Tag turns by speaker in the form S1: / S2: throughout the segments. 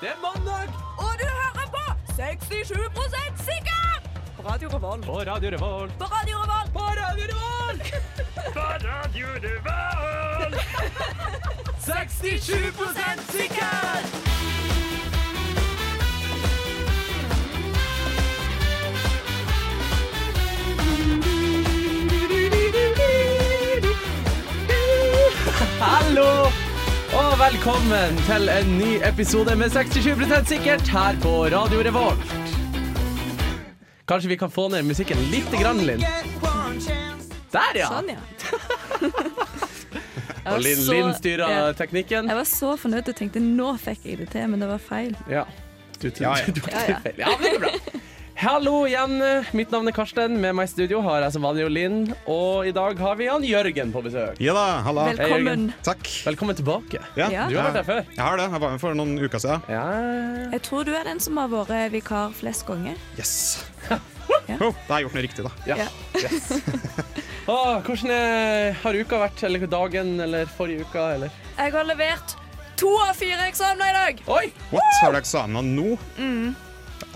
S1: Det er mandag
S2: Og du hører på 67 sikker! På Radio Revolt.
S1: på Radio Revolt.
S2: På Radio Revolt.
S1: På Radio Revolt! på Radio Revolt! 67 sikker! Hallo! Og velkommen til en ny episode med 67 sikkert her på Radio Revolt. Kanskje vi kan få ned musikken litt, grann, Linn? Der, ja!
S2: Sånn, ja. Jeg var
S1: Og Linn,
S2: så-
S1: Linn styrer
S2: ja.
S1: teknikken.
S2: Jeg var så fornøyd og tenkte nå fikk jeg det til, men det var feil.
S1: Ja. Du, du,
S3: Ja, ja.
S1: du tok
S2: Ja,
S1: det
S2: ja.
S1: feil. Ja, men det er bra. Hallo igjen. Mitt navn er Karsten. Med meg i studio har jeg som vanlig jo Linn. Og i dag har vi han Jørgen på besøk.
S3: Ja da,
S1: Ah,
S3: halla.
S2: Velkommen.
S3: Takk.
S1: Velkommen tilbake.
S2: Ja.
S1: Du har vært her før.
S3: Jeg har det. Jeg var med for noen uker siden.
S1: Ja.
S2: Jeg tror du er den som har vært vikar flest ganger.
S3: Yes. Oh, da har jeg gjort noe riktig, da.
S1: ja.
S2: Ja.
S1: Yes. Å, hvordan er, har uka vært? Eller dagen? Eller forrige uka? Eller?
S2: Jeg har levert to av fire eksamener i dag.
S1: Oi!
S3: What? Har du eksamener nå?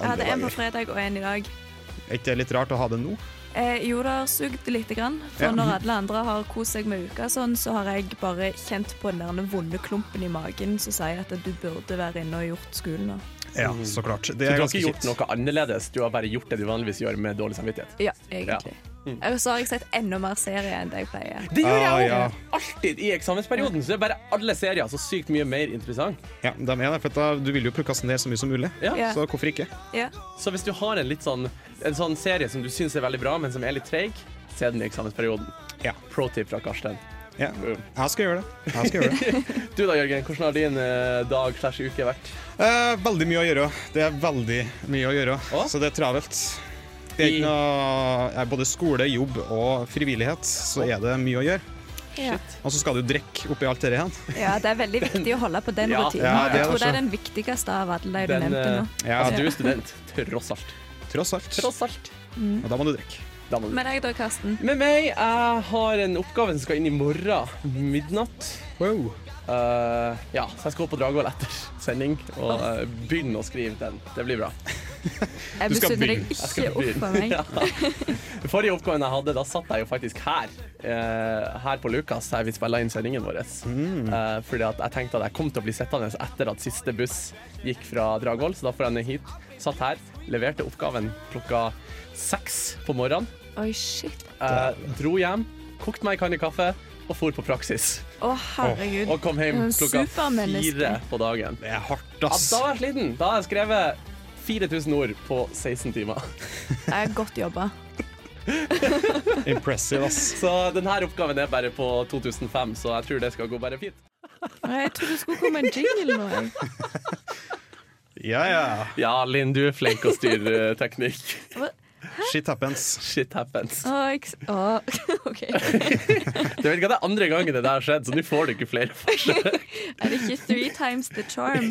S2: Jeg hadde en på fredag og en i dag.
S3: Er ikke det litt rart å ha det nå?
S2: Eh, jo, det har sugd lite grann. For
S3: Ja.
S2: når alle andre har kost seg med uka sånn, så har jeg bare kjent på den der vonde klumpen i magen som sier at du burde være inne og gjort skolen nå.
S3: Ja, så klart. Det
S1: Du
S3: er
S1: har
S3: ganske
S1: ikke gjort
S3: kjipt.
S1: noe annerledes, du har bare gjort det du vanligvis gjør med dårlig samvittighet.
S2: Ja, egentlig.
S1: Mm.
S2: Og så har jeg sett enda mer serie enn det jeg pleier.
S1: Det gjør
S3: Ah,
S1: jeg
S3: ja.
S1: òg! Alltid i eksamensperioden. Så er bare alle serier så sykt mye mer interessant.
S3: Ja, de er det, for da, du vil jo prokrastinere så mye som mulig.
S1: Ja.
S2: Ja.
S3: Så hvorfor ikke?
S2: Ja.
S1: Så hvis du har en, litt sånn, en sånn serie som du syns er veldig bra, men som er litt treig, se den i eksamensperioden.
S3: Ja.
S1: Pro tip fra Karsten.
S3: Ja. Jeg skal gjøre det. Jeg skal gjøre det.
S1: Du da, Jørgen. Hvordan har din eh, dag slash uke vært?
S3: Eh, veldig mye å gjøre. Det er veldig mye å gjøre,
S1: Å?
S3: så det er travelt. Det er ikke noe, eh, både skole, jobb og frivillighet, så er det mye å gjøre.
S2: Ja.
S3: Og så skal du drikke oppi alt dette igjen.
S2: ja, det er veldig viktig å holde på den
S1: Ja,
S2: rutinen.
S3: ja,
S2: jeg
S3: det er det
S2: tror det
S3: så.
S2: er den viktigste av alle de du
S1: Den,
S2: nevnte
S1: eh,
S2: nå.
S3: Ja,
S1: Altså, du er student, tross alt.
S3: tross alt.
S1: Tross alt.
S3: Og da må du drikke.
S1: Da må du.
S2: Med deg da, Karsten.
S1: Med meg, jeg har en oppgave som skal inn i morgen midnatt.
S3: Wow.
S1: Eh, ja, så jeg skal opp på Dragvoll etter sending og eh, begynne å skrive den. Det blir bra.
S2: Jeg
S3: Du skal
S2: misunner deg
S3: begynne.
S1: Jeg
S2: ikke
S1: skal
S2: opp på meg.
S1: Ja. Forrige oppgaven jeg hadde, da satt jeg jo faktisk her. eh, her på Lukas, her vi spilla inn sendingen vår.
S2: Mm.
S1: Eh, fordi at jeg tenkte at jeg kom til å bli sittende etter at siste buss gikk fra Dragvoll, så da får jeg ned hit. Satt her, leverte oppgaven klokka seks på morgenen.
S2: Oi, shit.
S1: eh, dro hjem, kokte meg en kanne kaffe og for på praksis.
S2: Å, herregud.
S1: Og kom hjem
S2: En
S1: klokka
S2: supermenneske.
S1: fire på dagen.
S3: Det er hardt,
S1: Ja,
S3: ass.
S1: da var jeg sliten. Da har jeg skrevet 4000 ord på 16 timer.
S2: Det er godt jobba.
S3: Impressive, ass.
S1: Så denne oppgaven er bare på 2005, så jeg tror det skal gå bare fint.
S2: Jeg trodde det skulle komme en jingle nå. jeg.
S3: Ja, ja.
S1: Ja, Linn, du er flink å styre eh, teknikk.
S3: Shit happens.
S1: Shit happens.
S2: Å, jeg s- å, OK.
S1: Du vet ikke at det er andre gangen det der har skjedd, så nå får du ikke flere forsøk.
S2: Er det ikke three times the charm?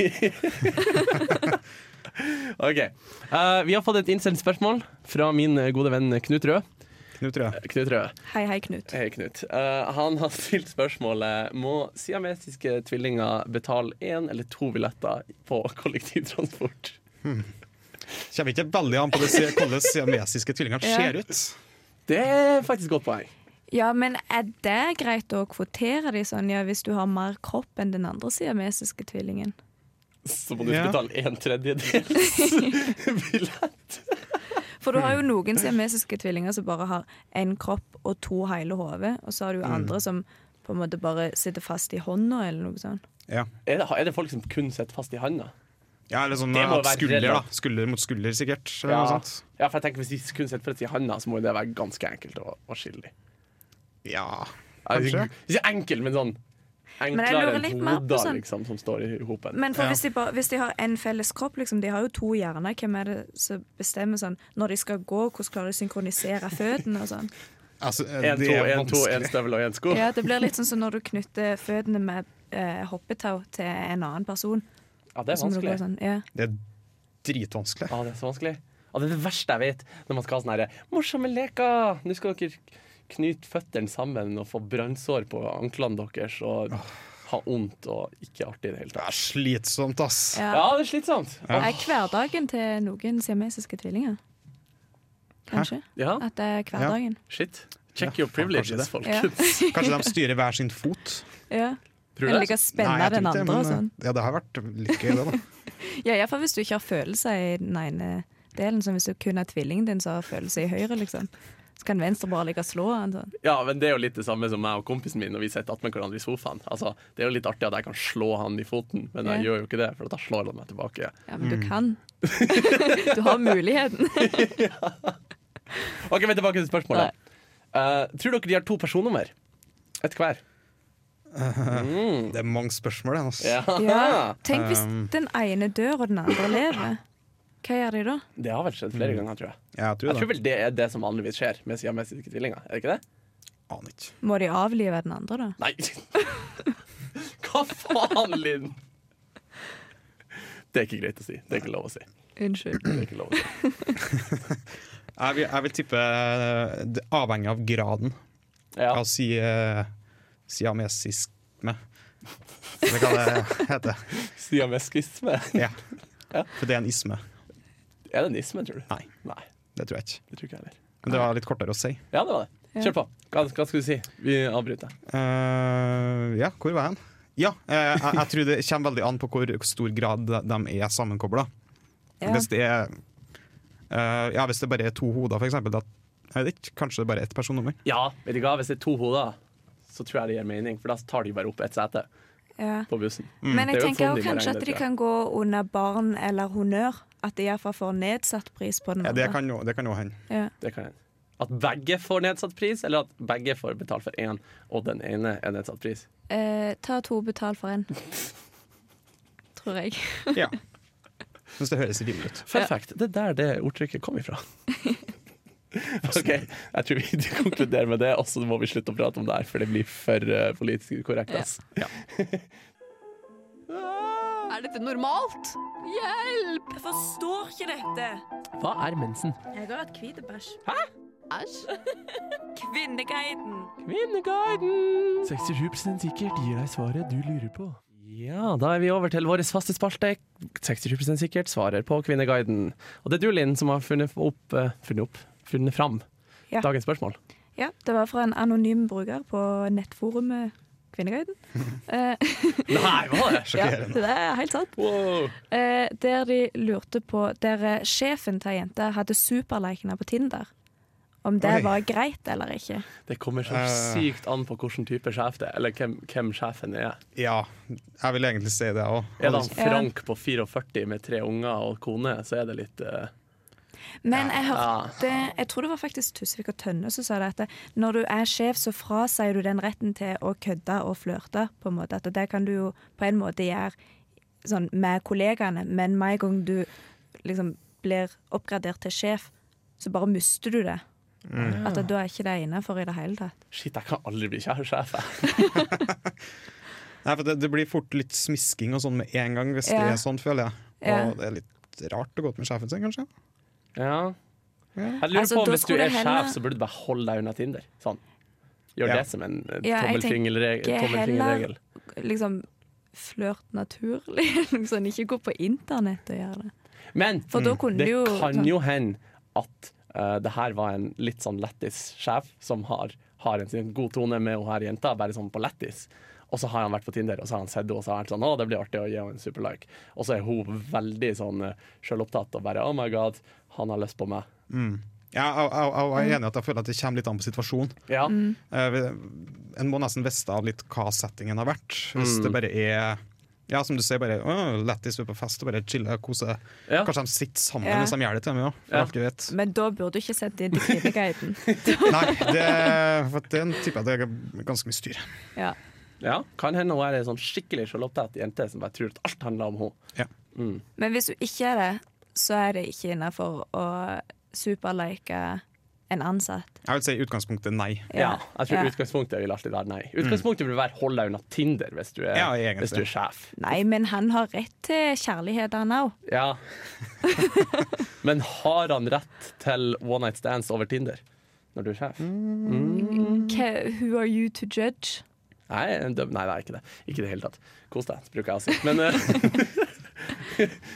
S1: Ok, Eh, Vi har fått et innsendt spørsmål fra min eh, gode venn Knut Rød.
S3: Knut Røe.
S1: Knut Rød.
S2: Hei, hei, Knut.
S1: Hei, Knut. Eh, han har stilt spørsmålet Må siamesiske tvillinger betale én eller to billetter på kollektivtransport.
S3: Kommer ikke veldig an på det se- hvordan siamesiske tvillinger
S2: Ja.
S3: ser ut.
S1: Det er faktisk et godt poeng.
S2: Ja, men er det greit å kvotere de sånn, ja, hvis du har mer kropp enn den andre siamesiske tvillingen?
S1: Så må du
S3: Ja.
S1: betale en tredjedels billett.
S2: For du har jo noen siamesiske tvillinger som bare har én kropp og to hele hoder, og så har du jo andre som på en måte bare sitter fast i hånda eller noe sånt.
S3: Ja.
S1: Er det, er det folk som kun sitter fast i handa?
S3: ja, eller sånn
S1: Det må
S3: at
S1: være
S3: skulder, da.
S1: relevant.
S3: Skulder mot skulder, sikkert. Eller noe sånt.
S1: ja, for jeg tenker Hvis de kun sitter fast i handa, så må jo det være ganske enkelt å, å skille dem.
S3: Ja,
S1: Altså,
S3: kanskje.
S1: Ikke enkel, men sånn
S2: jeg
S1: enklere
S2: lurer
S1: enn
S2: litt mer på
S1: hoder
S2: sånn-
S1: liksom, som står i hopen.
S2: Men for
S3: Ja.
S2: hvis, de bare, hvis de har en felles kropp, liksom, de har jo to hjerner, hvem er det som bestemmer sånn når de skal gå, hvordan klarer de å synkronisere føttene og sånn?
S3: Altså, eh,
S1: Én,
S3: det
S1: to,
S3: er
S1: én, to, én
S3: vanskelig.
S1: støvel og én sko.
S2: Ja, det blir litt sånn som når du knytter føttene med eh, hoppetau til en annen person.
S1: Ja, det er
S2: Så må du gå
S1: vanskelig.
S2: Sånn, ja.
S3: Det er dritvanskelig.
S1: Ja, det er så vanskelig. Ja, det er det verste jeg vet, når man skal ha sånne her, morsomme leker. Nå skal dere knyte føttene sammen og få brannsår på anklene deres. Og ha vondt og ikke artig i det hele
S3: Det
S1: tatt.
S3: er slitsomt, ass.
S2: Ja.
S1: Ja, det er slitsomt.
S2: Er hverdagen til noen siamesiske tvillinger? Kanskje?
S1: Ja,
S2: At det er hverdagen.
S1: shit. Check
S3: Ja,
S1: your privileges,
S3: kanskje
S2: Ja.
S1: folkens.
S3: Kanskje de styrer hver sin fot?
S2: Ja.
S1: Tror
S2: Eller
S1: du det?
S2: like spenne
S3: jeg
S2: den
S3: tror ikke det,
S2: andre og sånn.
S3: men, eh, Ja, det har vært litt gøy, det, da.
S2: Ja, iallfall hvis du ikke har følelser i den ene delen. Som hvis du kun er tvillingen din som har følelser i høyre, liksom. Så kan venstre bare ligge og slå han sånn.
S1: Ja, men det er jo litt det samme som meg og kompisen min når vi sitter attmed hverandre i sofaen. Altså, det er jo litt artig at jeg kan slå han i foten, men jeg
S2: Ja.
S1: gjør jo ikke det, for da slår han meg tilbake.
S2: Ja, men
S3: Mm.
S2: du kan. du har muligheten.
S1: OK, men tilbake til spørsmålet. Eh, tror dere de har to personnummer? Ett hver?
S3: Det er mange spørsmål, det. ass.
S1: Ja.
S2: Ja. Tenk hvis
S3: Um.
S2: den ene dør og den andre lever. Hva gjør de da?
S1: Det har vel skjedd flere ganger, tror jeg.
S3: Mm. Jeg
S1: Jeg
S3: tror det.
S1: tror vel det er det som vanligvis skjer med siamesiske tvillinger. Er det ikke det?
S3: Aner ikke.
S2: Må de avlive den andre, da?
S1: Nei! Hva faen, Linn? Det er ikke greit å si. Det er ikke lov å si.
S2: Unnskyld.
S1: Det er ikke lov å si.
S3: Jeg vil, jeg vil tippe eh, det avhenger av graden
S1: Ja.
S3: av si, eh, siamesisme. Det kan det hete.
S1: Siameskisme.
S3: Ja.
S1: Ja.
S3: For det er en isme.
S1: Er det nisme, tror du?
S3: Nei.
S1: Nei,
S3: Det tror jeg ikke.
S1: det tror ikke jeg heller.
S3: Men det var litt kortere å si.
S1: Ja, det var det. Kjør på. Hva, hva skal du si? Vi avbryter.
S3: Eh, ja, hvor var jeg hen? Ja, eh, jeg, jeg tror det kommer veldig an på hvor stor grad de- de er sammenkobla.
S2: Ja.
S3: Hvis det er eh, Ja, hvis det bare er to hoder, for eksempel, da jeg vet ikke, kanskje det er bare ett personnummer.
S1: Ja, vet du hva? Hvis det er to hoder, så tror jeg det gir mening, for da tar de bare opp ett sete
S2: Ja.
S1: på bussen.
S2: Men
S1: Det
S2: jeg
S3: Mm,
S1: er jo
S3: sånn
S2: tenker
S1: Trond
S2: jo
S1: de må regne
S2: kanskje at
S1: det,
S2: de
S1: tror jeg.
S2: kan gå under barn eller honnør. At de iallfall får nedsatt pris på den
S3: Ja, det
S2: andre.
S3: kan jo det kan jo hende.
S2: Ja.
S1: Det kan hende. At begge får nedsatt pris, eller at begge får betalt for én, og den ene er nedsatt pris.
S2: Eh, ta to, betal for én. Tror jeg.
S3: Ja. Syns det høres rimelig ut.
S1: Fun fact, det er der det ordtrykket kom ifra. OK, jeg tror vi konkluderer med det, og så må vi slutte å prate om det her, for det blir for eh, politisk ukorrekt. Ass. Ah!
S2: Er dette normalt? Hjelp! Jeg forstår ikke dette.
S1: Hva er mensen?
S2: Jeg har hatt hvit bæsj. Hæ? Æsj. Kvinneguiden.
S1: Kvinneguiden! 67 sikkert gir deg svaret du lurer på. Ja, da er vi over til vår faste spalte. 67 sikkert svarer på Kvinneguiden. Og det er du, Linn, som har funnet opp eh, Funnet opp? Funnet fram
S2: Ja.
S1: dagens spørsmål.
S2: Ja, det var fra en anonym bruker på nettforumet Kvinneguiden. Eh,
S1: Nei, hva er det?
S2: ja, det er helt sant.
S1: Wow.
S2: Eh, der de lurte på Der eh, sjefen til ei jente hadde superlikener på Tinder. Om det
S3: Oi.
S2: var greit eller ikke.
S1: Det kommer så
S3: Eh.
S1: sykt an på hvilken type sjef det er, eller hvem, hvem sjefen er.
S3: Ja, jeg vil egentlig si det òg.
S1: Er det han
S2: Ja.
S1: Frank på 44 med tre unger og kone, så er det litt eh,
S2: Men jeg
S1: Ja.
S2: hørte Jeg tror det var faktisk Tusvik og Tønne som sa det. At det- når du er sjef, så frasier du den retten til å kødde og flørte. på en måte. At det kan du jo på en måte gjøre sånn med kollegaene, men med en gang du liksom blir oppgradert til sjef, så bare mister du det.
S1: Mm.
S2: At da er ikke det innafor i det hele tatt.
S1: Shit, jeg kan aldri bli kjære sjef. jeg.
S3: Nei, for det, det blir fort litt smisking og sånn med en gang, hvis
S2: Ja.
S3: det er sånn, føler jeg.
S2: Ja.
S3: Og det er litt rart å gå ut med sjefen sin, kanskje.
S1: Ja.
S3: Ja.
S1: Jeg lurer
S2: Altså,
S1: på om
S2: da
S1: Hvis du
S2: skulle
S1: er
S2: det heller-
S1: sjef, så burde du bare holde deg unna Tinder. Sånn. Gjør
S3: Ja.
S1: det som en eh,
S2: Ja, jeg
S1: tommelfingerreg-
S2: tenker
S1: tommelfingerregel.
S2: Liksom flørt naturlig. Liksom ikke gå på internett og gjøre det.
S1: Men
S2: For da kunne
S1: det
S2: du jo sånn-
S1: kan jo hende at eh, det her var en litt sånn lættis sjef som har, har en sin god tone med hun her jenta, bare sånn på lættis. Og så har han vært på Tinder og så har han sett henne og så har han vært sånn, å, det blir artig å gi henne en superlike. Og så er hun veldig sånn eh, selvopptatt og bare oh my god, han har lyst på meg.
S3: Ja, jeg, jeg, jeg, jeg er enig i at jeg føler at det kommer litt an på situasjonen.
S1: Ja,
S2: Mm.
S3: Eh, vi- En må nesten vite av litt hva settingen har vært. Hvis det bare er ja, som du sier, bare «Å, lættis, vi er på fest og bare chille og kose.
S1: Ja.
S3: Kanskje de sitter sammen
S2: Ja.
S3: mens de gjør det til meg òg, for
S1: Ja.
S3: alt vi vet.
S2: Men da burde du ikke sett inn til Kvinneguiden.
S3: Nei, det, for den tipper jeg det er ganske mye styr.
S2: Ja.
S1: ja. Kan hende hun er ei sånn skikkelig selvopptatt jente som bare tror at alt handler om henne.
S3: Ja.
S2: Men hvis du ikke er det, så er det ikke innafor å superlike en ansatt.
S3: Jeg vil si i utgangspunktet nei.
S1: Ja, jeg tror
S2: Ja.
S1: utgangspunktet vil alltid være nei. Utgangspunktet vil være hold deg unna Tinder hvis du er,
S3: Ja, egentlig.
S1: hvis du er sjef.
S2: Nei, men han har rett til kjærlighet, han òg.
S1: Ja. Men har han rett til one night
S2: Mm.
S1: stands over Tinder når du er sjef?
S2: Who are you to judge?
S1: Nei, en dub, nei, det er ikke det. Ikke i det hele tatt. Kos deg, bruker jeg å si. Men eh,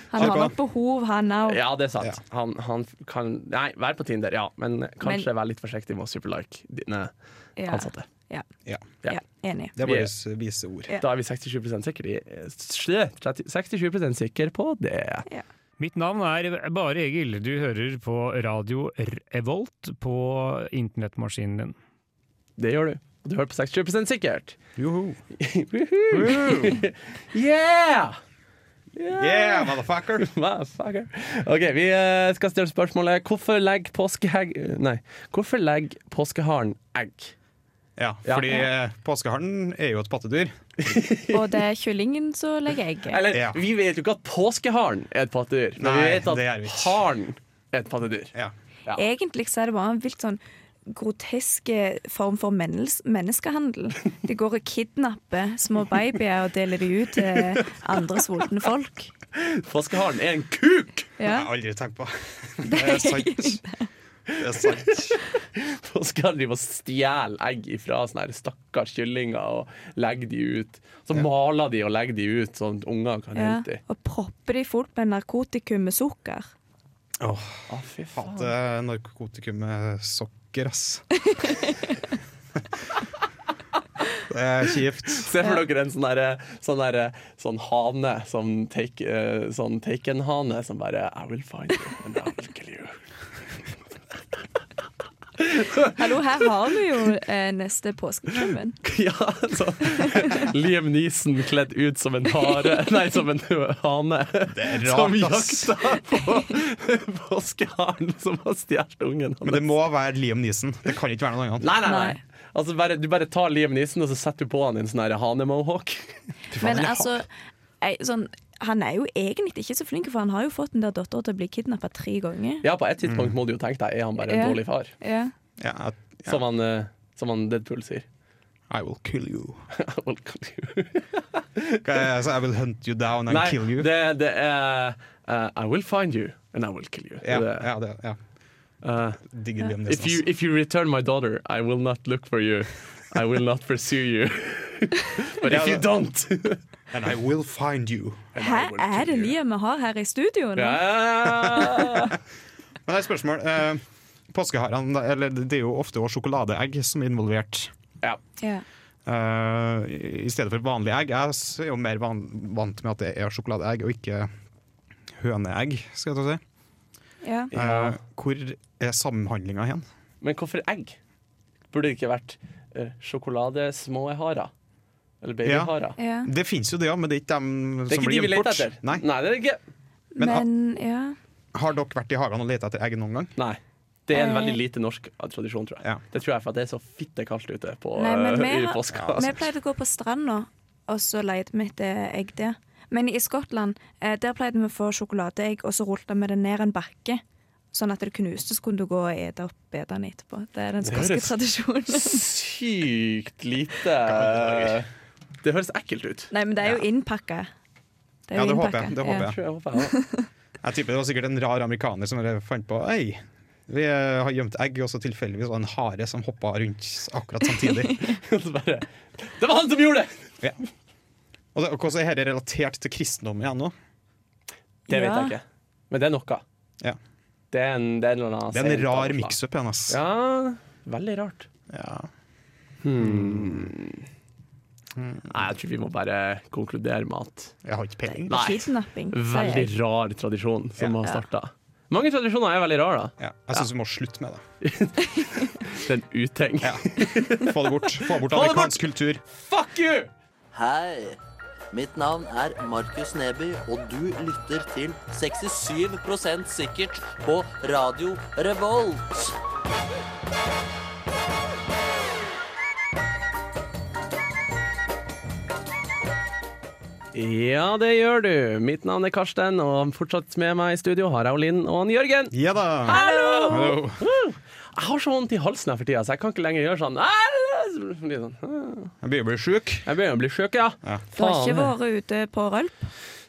S2: Han har
S3: Bra.
S2: nok behov, han òg.
S1: ja, det er
S3: Ja.
S1: sant. Han, han kan Nei, vær på Tinder, ja. Men kanskje
S2: Men-
S1: vær litt forsiktig med å superlike dine ansatte.
S2: Ja.
S3: Ja,
S1: Ja.
S2: ja. Enig.
S3: det er
S1: Vi er-
S3: våre vise ord.
S2: Ja.
S1: Da er vi 67 sikre i eh, 67 sikre på det.
S4: Mitt navn er Bare Egil. Du hører på radio Revolt på internettmaskinen din.
S1: Det gjør du. Og du hører på 67 sikkert.
S3: Joho.
S1: Woohoo! yeah!
S3: Yeah, motherfucker!
S1: Motherfucker. OK, vi eh, skal stille spørsmålet Hvorfor legger påskehegg Nei, hvorfor legger påskeharen egg?
S3: Ja,
S1: Ja.
S3: fordi eh, påskeharen er jo et pattedyr.
S2: Og det er kyllingen som legger egg.
S1: Eller,
S3: Ja.
S1: vi vet jo ikke at påskeharen er et pattedyr, men vi
S3: Nei,
S1: vet at
S3: det er vi ikke.
S1: haren er et pattedyr.
S3: Ja.
S1: Ja.
S2: Egentlig så er det bare en vilt sånn grotesk eh, form for mennes menneskehandel. De går og kidnapper små babyer og deler de ut til andre sultne folk.
S1: Påskeharen er en kuk!
S3: Det har
S2: Ja.
S3: jeg aldri tenkt på. Det er sant. Det er sant.
S1: Påskeharen driver og stjeler egg fra sånne her stakkars kyllinger og legger de ut. Så maler de og legger de ut, sånn at unger kan
S2: Ja.
S1: hente de.
S2: Og propper de fullt med narkotikum med sukker.
S3: Åh,
S1: Å, fy faen.
S3: det er narkotikum med sokker, ass. Det er kjipt.
S1: Se for dere en sånn derre- sånn derre- sånn hane, sånn, take, eh, sånn taken-hane som bare I will find you and I will kill you.
S2: Hallo, her har vi jo eh, neste påskekrimmen.
S1: Ja, så Liam Neeson kledd ut som en hare Nei, som en hane.
S3: er rart,
S1: som
S3: ass.
S1: jakta på påskeharen som har stjålet ungen.
S3: Men det må være Liam Neeson. Det kan ikke være noe annet.
S1: Nei, nei, nei.
S2: Nei.
S1: Altså bare, du bare tar Liam Neeson og så setter du på han en sånn her hane-mohawk.
S2: Men altså, jeg, sånn, han er jo egentlig ikke så flink, for han har jo fått den der dattera til å bli kidnappa tre ganger.
S1: Ja, på et tidspunkt må du jo tenke deg Er han bare en
S2: Ja.
S1: dårlig far,
S2: Ja.
S3: Ja, at-
S1: som, han, eh, som han Deadpool sier.
S3: I will kill you.
S1: I will kill you.
S3: Hva er- Så I will hunt you down and
S1: Nei,
S3: kill you.
S1: Det, det er eh, I will find you and I will kill you.
S3: Ja,
S1: Det,
S3: ja, det, ja.
S1: eh,
S3: Digger Liam
S1: if,
S3: Neeson.
S1: you,
S3: ass.
S1: if you return my daughter, I will not look for you. I will not pursue you. But
S3: Ja,
S1: if you
S3: det-
S1: don't
S3: And I will find you.
S2: Hæ, er det Liam vi har her i studio nå?
S1: Ja.
S3: Men det er et spørsmål. Eh, Påskeharene, da, eller det er jo ofte også sjokoladeegg som er involvert.
S1: ja.
S2: Ja.
S3: Eh, I stedet for vanlige egg. Jeg s- er jo mer van vant med at det er sjokoladeegg og ikke høneegg, skal jeg ta og si.
S2: Ja.
S1: Ja.
S3: Eh, hvor er samhandlinga hen?
S1: Men hvorfor egg? Burde det ikke vært uh, sjokoladesmå harer? Eller babyharer?
S2: ja.
S3: Det fins jo det, ja, men det er ikke dem
S1: Det er
S3: som
S1: ikke de vi
S3: blir gjemt
S1: leter
S3: bort.
S1: etter.
S3: Nei.
S1: det er det ikke.
S3: Men ha-
S2: Men ja.
S3: Har dere vært i hagen og leta etter egg noen gang?
S1: Nei. Det er en
S2: Eh.
S1: veldig lite norsk tradisjon, tror jeg.
S3: Ja.
S1: Det tror jeg for at det er så fitte kaldt ute på,
S2: Nei, men
S1: eh,
S2: vi
S1: i
S2: har-
S1: påska.
S2: Vi
S3: Altså.
S2: pleide å gå på stranda, og så leide vi etter egg der. Men i Skottland eh, der pleide vi å få sjokoladeegg, og så rullet vi det ned en bakke. Sånn at det knuste, så kunne du gå og ete opp bedene etterpå. Det er den skotske
S1: høres-
S2: tradisjonen.
S1: Sykt lite Det høres ekkelt ut.
S2: Nei, men det er jo innpakka. er
S3: Ja,
S2: jo
S3: det håper
S2: innpakka.
S3: jeg, det
S2: Ja.
S3: håper
S1: Jeg tror jeg håper jeg også.
S3: Jeg tipper det var sikkert en rar amerikaner som bare fant på Ei, vi eh, har gjemt egg, og så tilfeldigvis var det en hare som hoppa rundt akkurat samtidig.
S1: Og så bare, det var han som gjorde det!
S3: ja. Og så- og Hvordan er dette relatert til kristendom igjen nå?
S1: Det vet jeg
S2: Ja.
S1: ikke. Men det er noe.
S3: Ja.
S1: Det er en, det er en, eller annen
S3: Det er en
S1: sent
S3: rar
S1: avslag.
S3: mix-up igjen, ass.
S1: Ja, veldig rart.
S3: Ja.
S1: Nei, jeg tror vi må bare konkludere med at
S3: Jeg har ikke peiling.
S1: Nei.
S2: Kidnapping. sier
S1: Veldig
S2: jeg.
S1: rar tradisjon som
S3: Ja.
S1: har starta. Mange tradisjoner er veldig rare, da.
S3: Ja, jeg syns vi må slutte med det.
S1: Det er en uting.
S3: Ja. Få det bort. Få bort
S1: det bort!
S3: amerikansk kultur.
S1: Fuck you!
S5: Hei! Mitt navn er Markus Neby, og du lytter til 67 sikkert på Radio Revolt.
S1: Ja, det gjør du. Mitt navn er Karsten, og fortsatt med meg i studio har jeg og Linn og han Jørgen.
S3: Ja da. Hallo.
S1: Jeg har så vondt i halsen her for tida, så jeg kan ikke lenger gjøre sånn. Litt sånn.
S3: Jeg begynner å bli sjuk.
S1: Jeg begynner å bli sjuk, ja.
S3: Ja.
S2: Du har ikke vært ute på rølp?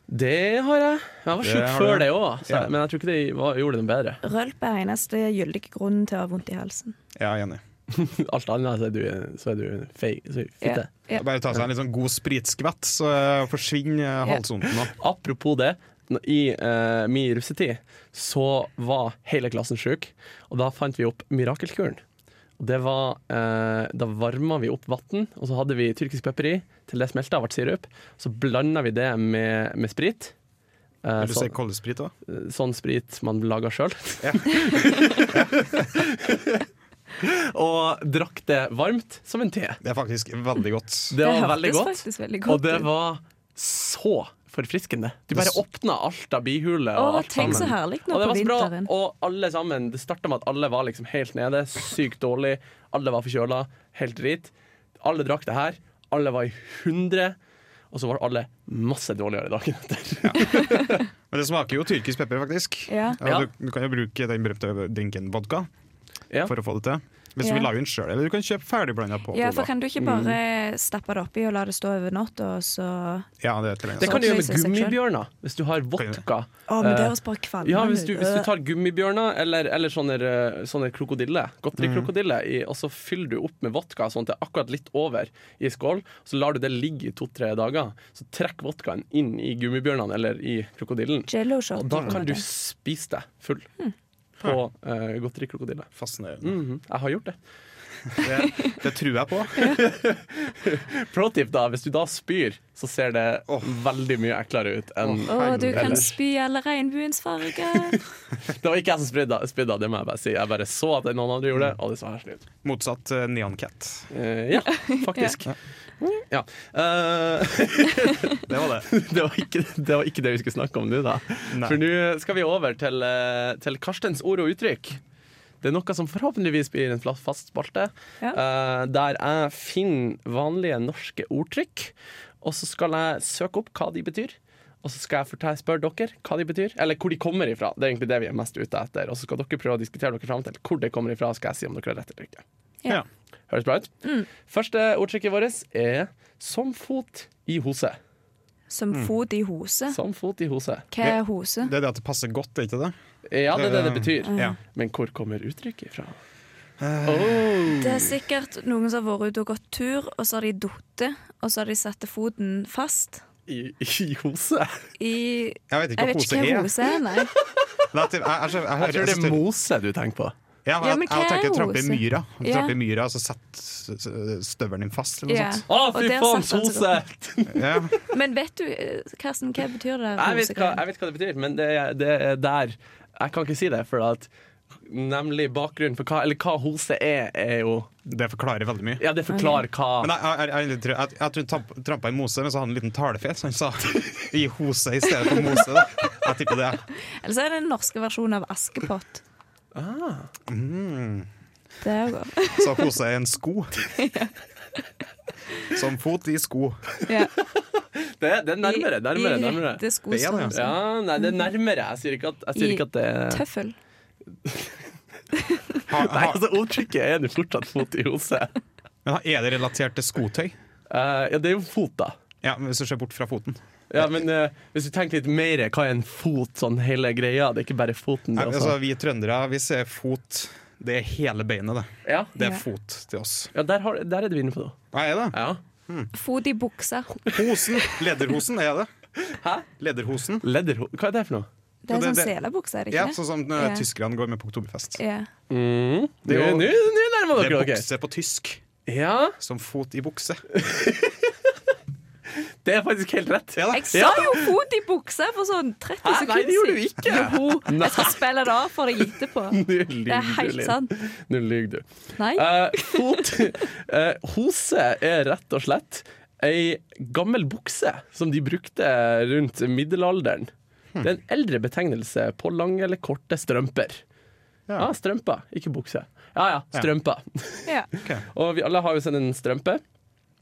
S1: Det har jeg. Jeg var
S3: Det
S1: sjuk
S3: har
S1: før
S3: du.
S1: det òg,
S3: Ja.
S1: men jeg tror ikke det var, gjorde den bedre.
S2: Rølp er eneste gyldige grunnen til å ha vondt i halsen.
S3: Ja, jeg er enig.
S1: Alt annet så er du, så er du feig. så er du
S2: Ja,
S1: Fitte.
S2: ja.
S3: Bare ta seg en litt sånn god spritskvett, så eh, forsvinner eh, halsvonten. da.
S1: Apropos det. n- I eh, min russetid så var hele klassen sjuk, og da fant vi opp mirakelkuren. Og det var, eh, da varma vi opp vann, og så hadde vi tyrkisk pepper i til det smelta og ble sirup. Så blanda vi det med, med sprit. Eh,
S3: Vil du si
S1: sånn-
S3: koldesprit òg?
S1: sånn sprit man lager sjøl.
S3: Ja.
S1: og drakk det varmt som en te.
S3: Det er faktisk veldig godt.
S1: Det var veldig
S2: hørtes
S1: godt,
S2: faktisk veldig
S1: og
S2: godt
S1: det
S2: ut.
S1: var så forfriskende. Du bare
S3: Det s-
S1: åpna alt av bihule og
S2: Å,
S1: alt
S2: tenk så
S1: sammen.
S2: herlig nå
S1: Og det
S2: på
S1: var så bra,
S2: vinteren.
S1: og alle sammen Det starta med at alle var liksom helt nede, sykt dårlig. Alle var forkjøla, helt drit. Alle drakk det her. Alle var i hundre. Og så var alle masse dårligere dagen etter.
S3: Men det smaker jo tyrkisk pepper, faktisk.
S2: Ja.
S1: Ja.
S3: Du, du kan jo bruke den berømte drinken vodka
S1: Ja.
S3: for å få det til. Hvis
S2: Ja.
S3: du vil lage den sjøl, eller du kan kjøpe ferdigblanda på
S2: Ja,
S3: cola.
S2: for kan du ikke
S1: Mm.
S2: bare stappe det oppi og la det stå over natt, og så Å,
S3: Ja, det er til
S1: Det
S3: lenge.
S1: kan du gjøre med
S2: Opplyse seg selv.
S1: gummibjørner, hvis du har vodka.
S2: men det
S1: Eh,
S2: høres bare kvalmende
S1: Ja, hvis du,
S2: ut.
S1: hvis du tar gummibjørner eller, eller sånne, eh, sånne krokodille, godterikrokodille, i- og så fyller du opp med vodka sånn at det er akkurat litt over i skål, så lar du det ligge i to-tre dager. Så trekk vodkaen inn i gummibjørnene eller i krokodillen,
S2: Eh, Jello shot.
S1: og da kan du spise deg full på uh, godterikrokodille.
S3: Fascinerende.
S1: Mhm, Jeg har gjort det.
S3: Det, det tror jeg på.
S1: Pro tip, da. Hvis du da spyr, så ser det
S3: Åh.
S1: veldig mye eklere ut enn
S2: Å, du kan
S1: Ellers.
S2: spy alle regnbuens farger.
S1: Det var ikke jeg som spydde, spydde, det må jeg bare si. Jeg bare så at noen andre gjorde det, og det så herselig ut.
S3: Motsatt uh, Neon Cat.
S1: Eh, ja, faktisk. ja. Eh,
S3: Det var det.
S1: det, var ikke, det var ikke det vi skulle snakke om nå, da.
S3: Nei.
S1: For nå skal vi over til, eh, til Karstens ord og uttrykk. Det er noe som forhåpentligvis blir en fla- fast spalte, eh, der jeg finner vanlige norske ordtrykk. Og så skal jeg søke opp hva de betyr, og så skal jeg fortelle, spørre dere hva de betyr. Eller hvor de kommer ifra. Det er egentlig det vi er mest ute etter. Og så skal dere prøve å diskutere dere fram til hvor det kommer ifra, og skal jeg si om dere har rett eller ikke.
S2: Ja.
S1: Høres bra ut. Første ordtrykket vårt er 'som fot i hose'.
S2: Som
S1: Mm.
S2: fot i hose.
S1: Som fot i hose.
S2: Hva er hose?
S3: Det er det at det passer godt, er ikke det?
S1: Ja, det er det det betyr.
S3: Ja.
S1: Men hvor kommer uttrykket fra?
S2: Det er sikkert noen som har vært ute og gått tur, og så har de falt, og så har de satt foten fast
S1: I, i hose?
S2: i
S3: Jeg vet ikke
S2: Jeg
S3: hva
S2: vet
S3: pose
S2: ikke hva
S3: er.
S2: hose er, nei.
S3: Det er at- Jeg, jeg, jeg, jeg,
S1: Jeg tror
S3: hører-
S1: det er mose du tenker på.
S3: Ja, men
S2: Ja,
S3: jeg,
S2: men
S3: jeg,
S2: hva er
S3: tenker trampe i
S2: hose?
S3: myra.
S2: Ja.
S3: Trampe i myra, og så setter støvelen din fast, eller noe
S2: Ja.
S3: sånt.
S1: Å,
S2: Og
S1: fy
S2: der
S1: faen,
S2: satt han seg
S1: hose!
S3: Ja.
S2: Men vet du, eh, Karsten, hva betyr det der
S1: Jeg vet, hva,
S2: hosegreiene?
S1: jeg vet hva det betyr, men det, er- det er der Jeg kan ikke si det, for at Nemlig bakgrunnen for hva Eller hva hose er, er jo
S3: Det forklarer veldig mye.
S1: Ja, det forklarer hva
S3: Men jeg, jeg, jeg, jeg, tror- jeg, jeg tror han tamp- trampa i mose, men så hadde han en liten talefel, så han sa i hose i stedet for mose. Da. Jeg tipper det.
S2: Eller så er det den norske versjonen av Askepott.
S1: Ah.
S2: Mm. Det er jo godt.
S3: Så hose er en sko. Som fot i sko.
S2: Ja.
S1: Det, det er nærmere, nærmere.
S2: I- i
S1: nærmere.
S2: rette
S3: Det er det,
S2: skostørrelse.
S1: Ja, nei, det er nærmere. Jeg sier ikke at, jeg sier ikke at det er
S2: Tøffel.
S3: Ha,
S1: Nei,
S3: ha,
S1: altså, ordtrykket er nå fortsatt fot i hose.
S3: men ha- er det relatert til skotøy?
S1: Eh, ja, det er jo fot, da.
S3: Ja, men Hvis du ser bort fra foten.
S1: Ja, men eh, hvis du tenker litt mer, hva er en fot, sånn hele greia? Det er ikke bare foten,
S3: Nei,
S1: det
S3: altså,
S1: også.
S3: vi trøndere vi ser fot. Det er hele beinet, det.
S1: Ja,
S3: Det er
S2: Ja.
S3: fot til oss.
S1: ja der, har, der er du inne på noe.
S3: Hva er det?
S1: Ja.
S2: Fot i buksa.
S3: Hosen. Lederhosen er det.
S1: Hæ?
S3: Lederhosen.
S1: Ledderho... Hva er det for noe?
S2: Det er
S3: Ja, det-
S2: sånn
S3: det-
S2: selebukse, er det
S3: Ja,
S2: ikke
S3: sånn som uh,
S2: Ja.
S3: tyskerne går med på oktoberfest.
S2: det? Ja.
S1: Mm.
S3: Det
S1: Nå
S3: er jo-
S1: nå- nå nærmer
S3: Det
S1: dere
S3: er
S1: dere.
S3: bukse på tysk,
S1: Ja,
S3: som fot i bukse.
S1: det er faktisk helt rett.
S3: Ja da.
S2: Jeg sa jo fot i buksa for sånn 30
S1: Ah, Hæ?
S2: sekunder
S1: Nei, det gjorde du
S2: siden.
S1: ikke.
S2: Jo, jeg skal spille det av for deg etterpå.
S1: Nå
S2: Det er
S1: lyver du,
S2: helt
S1: Linn.
S2: sant.
S1: Nå lyver du.
S2: Nei.
S1: Eh, fot eh, Hose er rett og slett ei gammel bukse som de brukte rundt middelalderen. Det er en eldre betegnelse på lange eller korte strømper. Ja,
S3: Ja.
S1: strømper, ikke bukse. Ja ja, strømper.
S2: Ja.
S1: Og vi alle har jo sett en strømpe.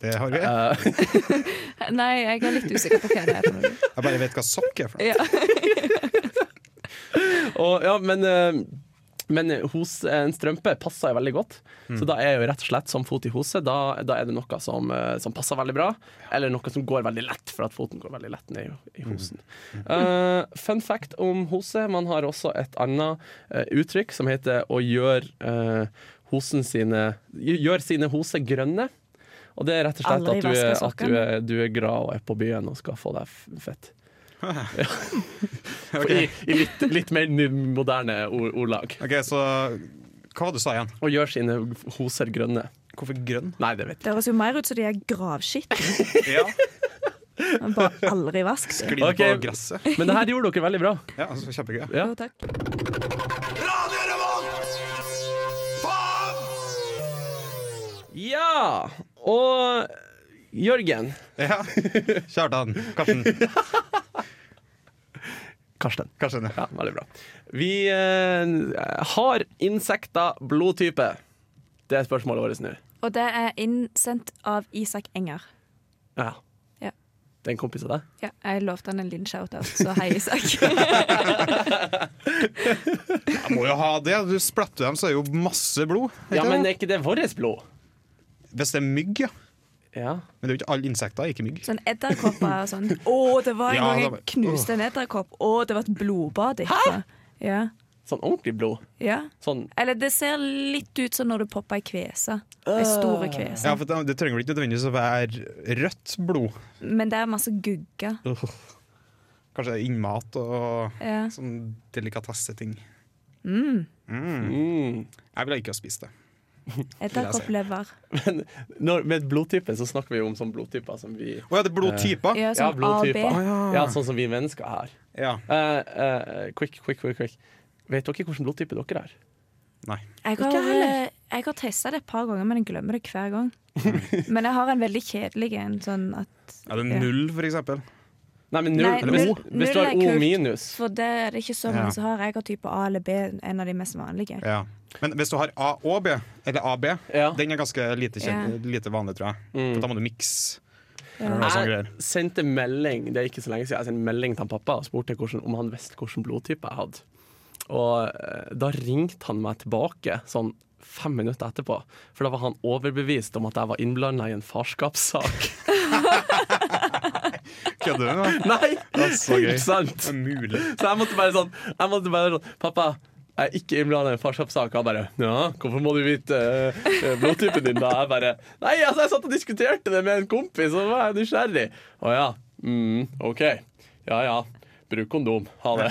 S3: Det har vi.
S2: Nei, jeg er litt usikker på hva det er. for noe.
S3: Jeg bare vet hva sokk er. for noe.
S2: Ja.
S1: Og, ja, men, eh, men hos en strømpe passer jo veldig godt. Så da er jo rett og slett som fot i hose. Da, da er det noe som, eh, som passer veldig bra, eller noe som går veldig lett, for at foten går veldig lett ned i, i hosen. Eh, fun fact om hose. Man har også et annet eh, uttrykk som heter å gjøre eh, hosen sine Gjør sine hoser grønne. Og det er rett og slett
S2: Aldri
S1: at, du er,
S2: vasker
S1: at du, er, du er glad og er på byen og skal få deg f- fett. Ja. For I, i litt, litt mer ny- moderne ord- ordlag.
S3: OK, så hva var det du sa igjen?
S1: Og gjør sine hoser grønne.
S3: Hvorfor grønn?
S1: Nei, det vet jeg
S2: Det høres jo mer ut som de er gravskitne.
S3: Ja,
S2: men Bare aldri vask dem.
S3: Glidd
S1: Ok.
S3: på gresset.
S1: ikke. Men det her gjorde dere veldig bra.
S3: Ja, altså, Kjempegøy.
S1: Ja.
S2: Jo, takk.
S1: Ja! Og Jørgen
S3: Ja. Kjartan. Karsten.
S1: Karsten.
S3: Karsten, ja.
S1: Ja, veldig bra. Vi eh, har insekter blodtype. Det er spørsmålet vårt nå.
S2: Og det er innsendt av Isak Enger.
S1: Ja.
S2: Ja.
S1: Det er en kompis av deg?
S2: Ja, jeg lovte han en liten shout-out, så hei, Isak.
S3: Jeg må jo ha det. Du splatter dem, så er det jo masse blod. ikke
S1: Ja, men
S3: det?
S1: er ikke det vårt blod?
S3: Hvis det er mygg, ja.
S1: Ja.
S3: Men det er jo ikke alle insekter, ikke mygg.
S2: Sånn edderkopper og sånn. Å, det var en
S3: Ja,
S2: gang
S3: det
S2: jeg
S3: var-
S2: knuste en edderkopp. Å, det var et blodbad etterpå. Ja.
S1: Sånn ordentlig blod.
S2: ja.
S1: Sånn
S2: Eller det ser litt ut som når du popper ei kvese. Ei store kvese.
S3: Ja, for det, det trenger vel ikke nødvendigvis å være rødt blod.
S2: Men det er masse gugge.
S3: Kanskje det er innmat og
S2: Ja.
S3: sånn delikatesseting.
S1: mm.
S3: Jeg ville ikke ha spist det.
S2: Edderkopplever.
S1: Når, Med blodtype så snakker vi jo om sånne blodtyper som vi
S3: Å ja, det er blodtyper?
S2: Ja, sånn
S1: blodtyper.
S2: AB.
S1: Ja, sånn som vi mennesker har.
S3: Ja.
S1: Eh, eh, quick, quick, quick, quick. Vet dere hvilken blodtype dere har?
S3: Nei.
S2: Jeg
S1: Ikke
S2: har,
S1: heller.
S2: jeg har testa det et par ganger, men jeg glemmer det hver gang. Men jeg har en veldig kjedelig en. Sånn at,
S3: Er det null, for eksempel?
S1: Nei, men null,
S2: Nei,
S1: hvis,
S2: null-
S1: hvis du
S2: null
S1: har
S2: er
S1: O
S2: kult.
S1: minus
S2: for det er det ikke så
S3: Ja.
S2: mange som har. Jeg har type A eller B, en av de mest vanlige.
S3: Ja. Men hvis du har A og B, eller AB,
S1: Ja.
S3: den er ganske lite, kjent, lite vanlig, tror jeg. For da må du mikse. Eller noe sånt sånn greier.
S1: Jeg sendte melding det er ikke så lenge siden, jeg sendte melding til han pappa og spurte hvordan, om han visste hvilken blodtype jeg hadde. Og eh, da ringte han meg tilbake sånn fem minutter etterpå, for da var han overbevist om at jeg var innblanda i en farskapssak.
S3: Kødder du nå?
S1: Nei!
S3: Det er så gøy.
S1: Ikke sant?
S3: Det er mulig.
S1: Så jeg måtte bare sånn, jeg måtte bare sånn Pappa, jeg er ikke innblanda i en farskapssak. Han bare Ja, hvorfor må du vite eh, blodtypen din, da? Jeg bare Nei, altså, jeg satt og diskuterte det med en kompis, og så var jeg nysgjerrig. Å ja. Mm, OK. Ja ja. Bruk kondom. Ha det.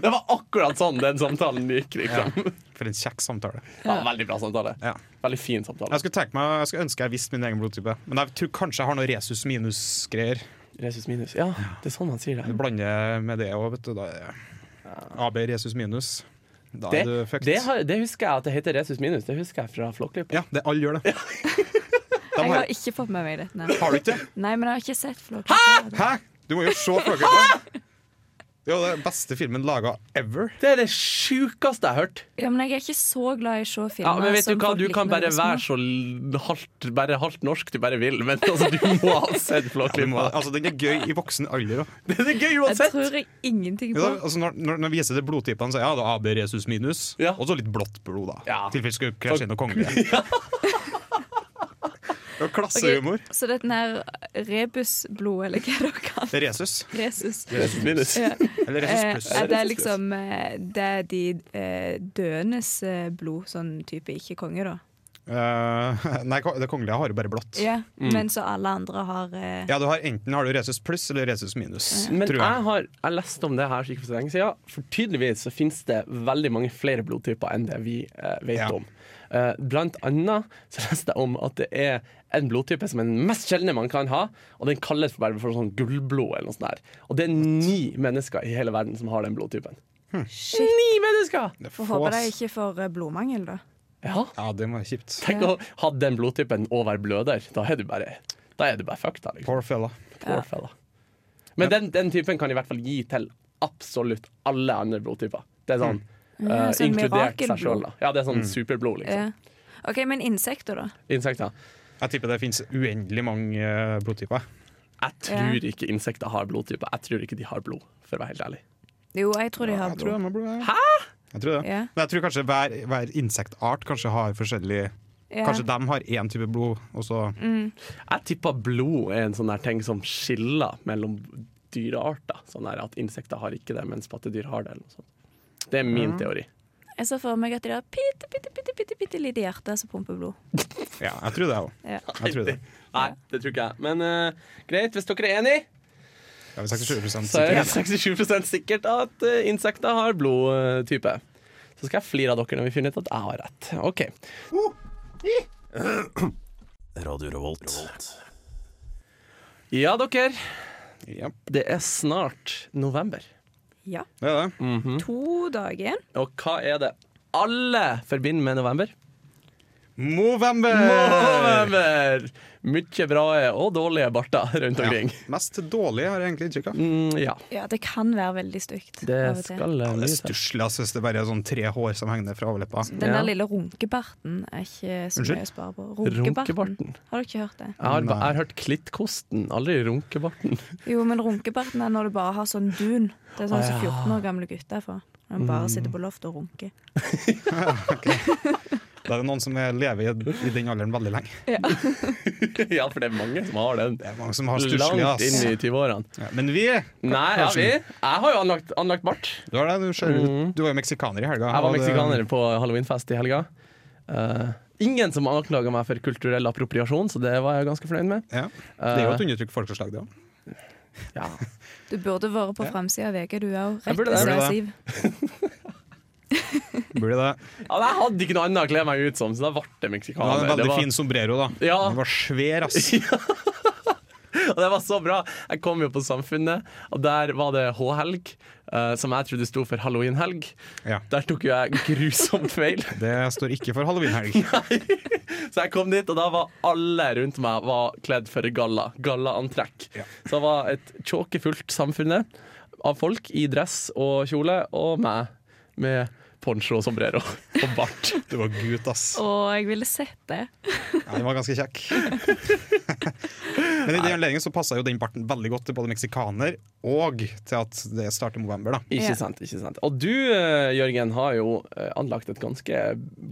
S1: det var akkurat sånn den samtalen gikk, liksom.
S3: For en kjekk samtale.
S1: Ja, veldig bra samtale.
S3: Ja.
S1: Veldig fin samtale.
S3: Jeg skulle, tenke meg, jeg skulle ønske jeg visste min egen blodtype, men jeg tror kanskje jeg har noe resus minus-greier.
S1: Resus minus. Ja, det er sånn man sier
S3: Du
S1: det.
S3: blander med det òg, vet du. Da er AB resus minus. Da
S1: Det,
S3: er du fucked.
S1: det, har, det husker jeg at det heter resus minus. Det husker jeg fra Flåklypa.
S3: Ja, det alle gjør det. De
S2: Jeg
S3: har,
S2: har ikke fått med meg dette. Nei.
S3: har du ikke det?
S2: Nei, men jeg har ikke sett Flåklypa.
S3: Hæ? Du må jo se Flåklypa! Det er jo den beste filmen laga ever.
S1: Det er det sjukeste jeg har hørt.
S2: Ja, men jeg er ikke så glad i å se filmer.
S1: Ja, men vet du
S2: som
S1: hva,
S2: folk
S1: du
S2: liker
S1: kan
S2: når de
S1: bare
S2: er små.
S1: være så l- halvt, bare halvt norsk du bare vil, men altså, du må ha sett
S3: Du må,
S1: Flåklypa.
S3: altså, den er gøy i voksen alder òg.
S1: Det er gøy
S2: Jeg
S1: uansett!
S2: tror jeg ingenting på.
S3: Altså, når, når, når vi viser til blodtypene, så er ja, det AB resus minus,
S1: Ja.
S3: og så litt blått blod, da.
S1: Ja.
S3: I tilfelle skulle krasje inn noe kongelig. Det er Klassehumor.
S2: Så det er den her rebusblod, eller hva dere kaller
S3: Resus.
S2: resus.
S1: Minus, minus.
S2: Ja. Eh,
S3: Eller resus
S2: at
S3: pluss.
S2: det er liksom eh, Det er de eh, døendes eh, blod, sånn type ikke konge, da.
S3: Eh, nei, ko- det kongelige har jo bare blått.
S2: Ja,
S1: Mm.
S2: Men så alle andre har eh,
S3: Ja, du har Enten har du resus pluss eller resus minus,
S1: Men
S3: tror jeg.
S1: jeg har jeg leste om det her for ikke for så lenge siden. For tydeligvis så finnes det veldig mange flere blodtyper enn det vi eh, vet
S3: Ja.
S1: om. Eh, blant annet så leste jeg om at det er en blodtype som er den mest sjeldne man kan ha, og den kalles for, bare for sånn gullblod eller noe sånt. Der. Og det er ni mennesker i hele verden som har den blodtypen.
S3: Hm.
S2: Shit.
S1: Ni mennesker!
S3: Det er
S2: Får
S3: få,
S2: håpe de
S3: ass.
S2: ikke får eh, blodmangel, da.
S1: Ja,
S3: Ja, det må være kjipt.
S1: Tenk å ha den blodtypen og være bløder. Da er du bare, da er du bare fucked. da, Liksom.
S3: Poor fella.
S1: Poor fella. Men den, den typen kan i hvert fall gi til absolutt alle andre blodtyper. Det er sånn, eh,
S2: sånn
S1: Inkludert seg
S2: mirakelblod.
S1: sjøl. Ja, det er sånn superblod, liksom.
S2: Ja. OK, men insekter, da?
S1: Insekter.
S3: Jeg tipper det finnes uendelig mange eh, blodtyper.
S1: Jeg tror ikke insekter har blodtyper. Jeg tror ikke de har blod, for å være helt ærlig.
S2: Jo, jeg tror de har
S3: Jeg tror
S2: blod.
S3: det må bli Hæ? Jeg tror det.
S2: Ja.
S3: Men jeg tror kanskje hver, hver insektart kanskje har forskjellig
S2: Ja.
S3: Kanskje de har én type blod, og så
S1: Jeg tipper blod er en sånn der ting som skiller mellom dyrearter. Sånn der at insekter har ikke det, mens pattedyr har det. Eller noe sånt. Det er min teori.
S2: Jeg ser for meg at de har bitte, bitte, bitte, bitte, bitte lite hjerte som pumper blod.
S3: Ja, jeg tror det òg.
S2: Ja.
S3: Jeg tror det.
S1: Nei, det tror ikke jeg. Men eh, greit, hvis dere er enig,
S3: Ja, vi snakker 20
S1: så er det
S3: sikkert.
S1: 67 sikkert at eh, insekter har blodtype. Så skal jeg flire av dere når vi finner ut at jeg har rett. OK.
S6: Radio Revolt.
S1: Ja, dere.
S3: Ja,
S1: Det er snart november.
S2: ja.
S3: det er det.
S1: Mm.
S2: To dager igjen.
S1: Og hva er det alle forbinder med november?
S3: Movember!
S1: November! Mye bra og dårlige barter rundt omkring.
S3: Ja. Mest dårlig har jeg egentlig inntrykk av.
S1: Mm, ja.
S2: Ja, det kan være veldig stygt.
S1: Det
S2: av og til.
S1: skal eh,
S3: Det er
S1: mye til.
S3: stusslig altså, hvis det bare er sånn tre hår som henger ned fra overleppa.
S2: Den
S1: Ja.
S2: der lille runkebarten er ikke så
S3: Unnskyld?
S2: mye å spare på.
S1: Runkebarten?
S2: Runkebarten. Har du ikke hørt det?
S1: Jeg har, ba-
S3: Nei.
S1: jeg har hørt klittkosten, aldri runkebarten.
S2: Jo, men runkebarten er når du bare har sånn dun. Det er sånn som
S1: Å, ja. Mm.
S2: 14 år gamle gutter får. Når de bare sitter på loftet og runker.
S3: Da er det noen som lever i, i den alderen veldig lenge.
S1: ja, for det er mange som har den.
S3: Det er mange som har stusslig,
S1: Langt
S3: ass.
S1: inn i 20-årene.
S3: Ja, men vi
S1: Nei, ja, vi. Jeg har jo anlagt, anlagt bart.
S3: Du, har det, du, ser ut- du var jo meksikaner i helga.
S1: Mm. Jeg var
S3: og det-
S1: meksikaner på halloweenfest i helga. Eh, ingen som anklaga meg for kulturell appropriasjon, så det var jeg ganske fornøyd med.
S3: Ja. Det er jo et undertrykt folkeslag, det òg.
S1: Ja.
S2: Du burde vært på framsida av VG, du òg.
S1: Jeg
S2: Rett
S1: burde
S2: ved
S1: det.
S2: siden av
S3: Burde
S2: Siv.
S3: det. Burde det.
S1: Ja, men jeg hadde ikke noe annet å kle meg ut som, så da ble det
S3: Du hadde
S1: meksikaner.
S3: en veldig
S1: Det var-
S3: fin sombrero, da.
S1: Ja.
S3: Den var svær, ass.
S1: Og det var så bra. Jeg kom jo på Samfunnet, og der var det H-helg, eh, som jeg trodde sto for halloween-helg.
S3: Ja.
S1: Der tok jo jeg grusomt feil.
S3: Det står ikke for halloweenhelg.
S1: Så jeg kom dit, og da var alle rundt meg var kledd for galla. Gallaantrekk.
S3: Ja.
S1: Så det var et tjåkefullt samfunnet av folk i dress og kjole, og meg med poncho og sombrero og bart.
S3: Du var gutt, ass.
S2: Å, jeg ville sett det.
S3: Ja, den var ganske kjekk. Men i den anledningen så passa jo den barten veldig godt til både meksikaner og til at det starter november, da.
S1: Ikke
S2: Ja.
S1: sant, ikke sant. Og du, eh, Jørgen, har jo eh, anlagt et ganske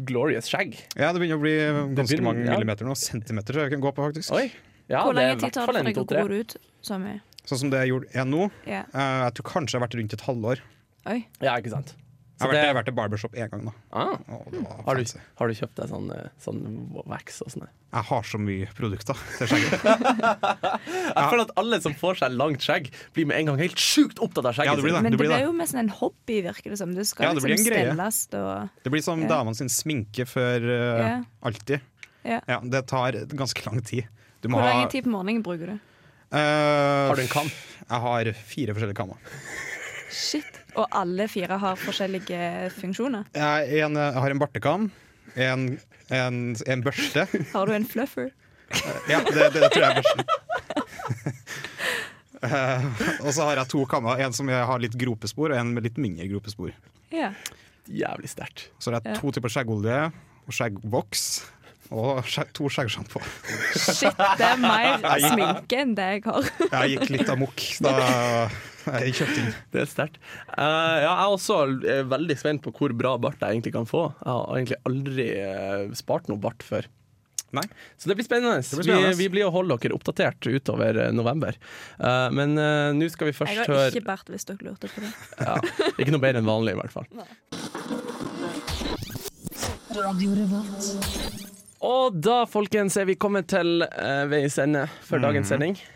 S1: glorious skjegg.
S3: Ja, det begynner å bli ganske
S1: begynner-
S3: mange
S1: ja.
S3: millimeter nå. Centimeter tror jeg vi kan gå på, faktisk.
S1: Oi. Ja,
S2: Hvor
S1: det er
S2: lang
S1: i
S2: tid
S1: hvert
S2: tar
S1: fall
S2: det
S1: en
S2: for deg å
S1: to-tre.
S2: gro det ut? Så mye.
S3: Sånn som det jeg gjorde er nå.
S2: Ja.
S3: Eh, jeg tror kanskje jeg har vært rundt et halvår. Jeg
S2: Oi.
S1: Ja, ikke sant. Så
S3: har vært,
S1: det-
S3: jeg har vært i barbershop én gang, da.
S1: Ah.
S3: Å, det var
S1: Har, du,
S3: fancy.
S1: har du kjøpt deg sånn, eh, sånn wax og sånn?
S3: Jeg har så mye produkter til skjegget.
S1: Jeg føler at alle som får seg langt skjegg, blir med en gang helt sjukt opptatt av skjegget.
S3: Ja, det blir
S1: sitt.
S3: det.
S2: Men det
S3: blir
S2: blir jo mest en hobby, virker det som. Du skal
S3: Ja, det blir
S2: liksom
S3: en greie.
S2: stelles og
S3: Det blir som
S2: Ja.
S3: damene sin sminke for eh,
S2: Ja.
S3: alltid.
S2: ja.
S3: Ja, det tar ganske lang tid. Du må
S2: Hvor
S3: ha
S2: lang tid på morgenen bruker du?
S3: eh,
S1: Har du en kam?
S3: Jeg har fire forskjellige kammer.
S2: Shit. Og alle fire har forskjellige funksjoner.
S3: Jeg, er en, jeg har en bartekam, en, en, en børste
S2: Har du en fluffer?
S3: Ja, det, det tror jeg er børsten. Eh, og så har jeg to kammer, en som jeg har litt gropespor, og en med litt mindre gropespor.
S2: Ja.
S1: Jævlig sterkt.
S3: Så det er to typer skjeggolje og skjeggvoks. Og skjegg, to skjeggsjampo.
S2: Shit, det er mer sminke enn det jeg har.
S3: Jeg gikk litt amok da eh, jeg kjøpte inn.
S1: Det er sterkt. Eh, ja, jeg er også eh, veldig spent på hvor bra bart jeg egentlig kan få. Jeg har egentlig aldri eh, spart noe bart før.
S3: Nei.
S1: Så det blir spennende.
S3: blir spennende.
S1: Vi, vi blir å holde dere oppdatert utover eh, november. Eh, men eh, nå skal vi
S2: Jeg
S1: først
S2: har
S1: høre
S2: ikke bart, hvis dere lurte på det.
S1: ja, Ikke noe bedre enn vanlig, i hvert fall. Og da, folkens, er vi kommet til eh, veis ende for dagens sending. Det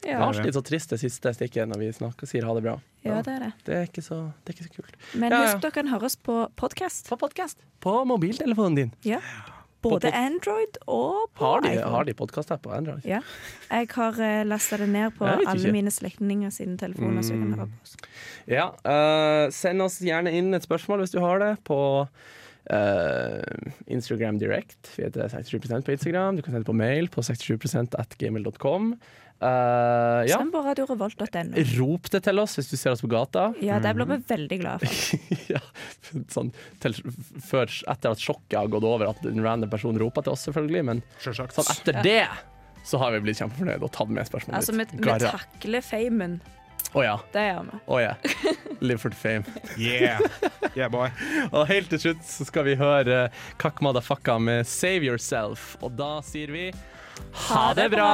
S2: Mhm. Ja,
S1: har vært litt så trist det siste stikket når vi snakker, sier ha det bra.
S2: ja det er det.
S1: Det er ikke så, det er ikke så kult.
S2: Men
S1: Ja, ja.
S2: husk dere kan høre oss på podkast.
S1: På podkast. På mobiltelefonen din.
S2: Ja.
S1: På
S2: Både
S1: pod-
S2: Android og på
S1: Har de,
S2: iPhone.
S1: har de podkast her på Android?
S2: Ja. Jeg har uh, lasta det ned på
S1: Jeg vet
S2: alle
S1: ikke. Mm,
S2: mine slektninger sine telefoner. Så jeg kan høre på oss.
S1: Ja. eh, send oss gjerne inn et spørsmål hvis du har det, på eh, Instagram Direct. Vi heter 67 på Instagram. Du kan sende på mail på 67 at gmail.com. Eh, ja.
S2: Stem på radiorevolt.no.
S1: Rop det til oss hvis du ser oss på gata.
S2: Ja, det blir vi veldig glad for.
S1: ja, sånn, til, før, etter at sjokket har gått over, at en random person roper til oss, selvfølgelig. Men
S3: Sjølsagt.
S1: sånn, etter det så har vi blitt kjempefornøyde og tatt med spørsmålet
S2: Altså, vi,
S1: ditt.
S2: vi
S1: Garra.
S2: takler famen.
S1: Å ja.
S2: Det gjør vi.
S1: Å ja. Live for the fame.
S3: Yeah. yeah, boy.
S1: Og helt til slutt så skal vi høre eh, Kakk Madafakka med Save Yourself. Og da sier vi ha det bra!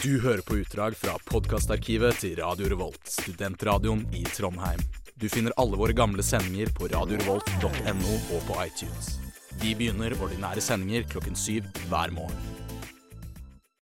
S6: Du hører på utdrag fra podkastarkivet til Radio Revolt, studentradioen i Trondheim. Du finner alle våre gamle sendinger på radiorevolt.no og på iTunes. Vi begynner ordinære sendinger klokken syv hver morgen.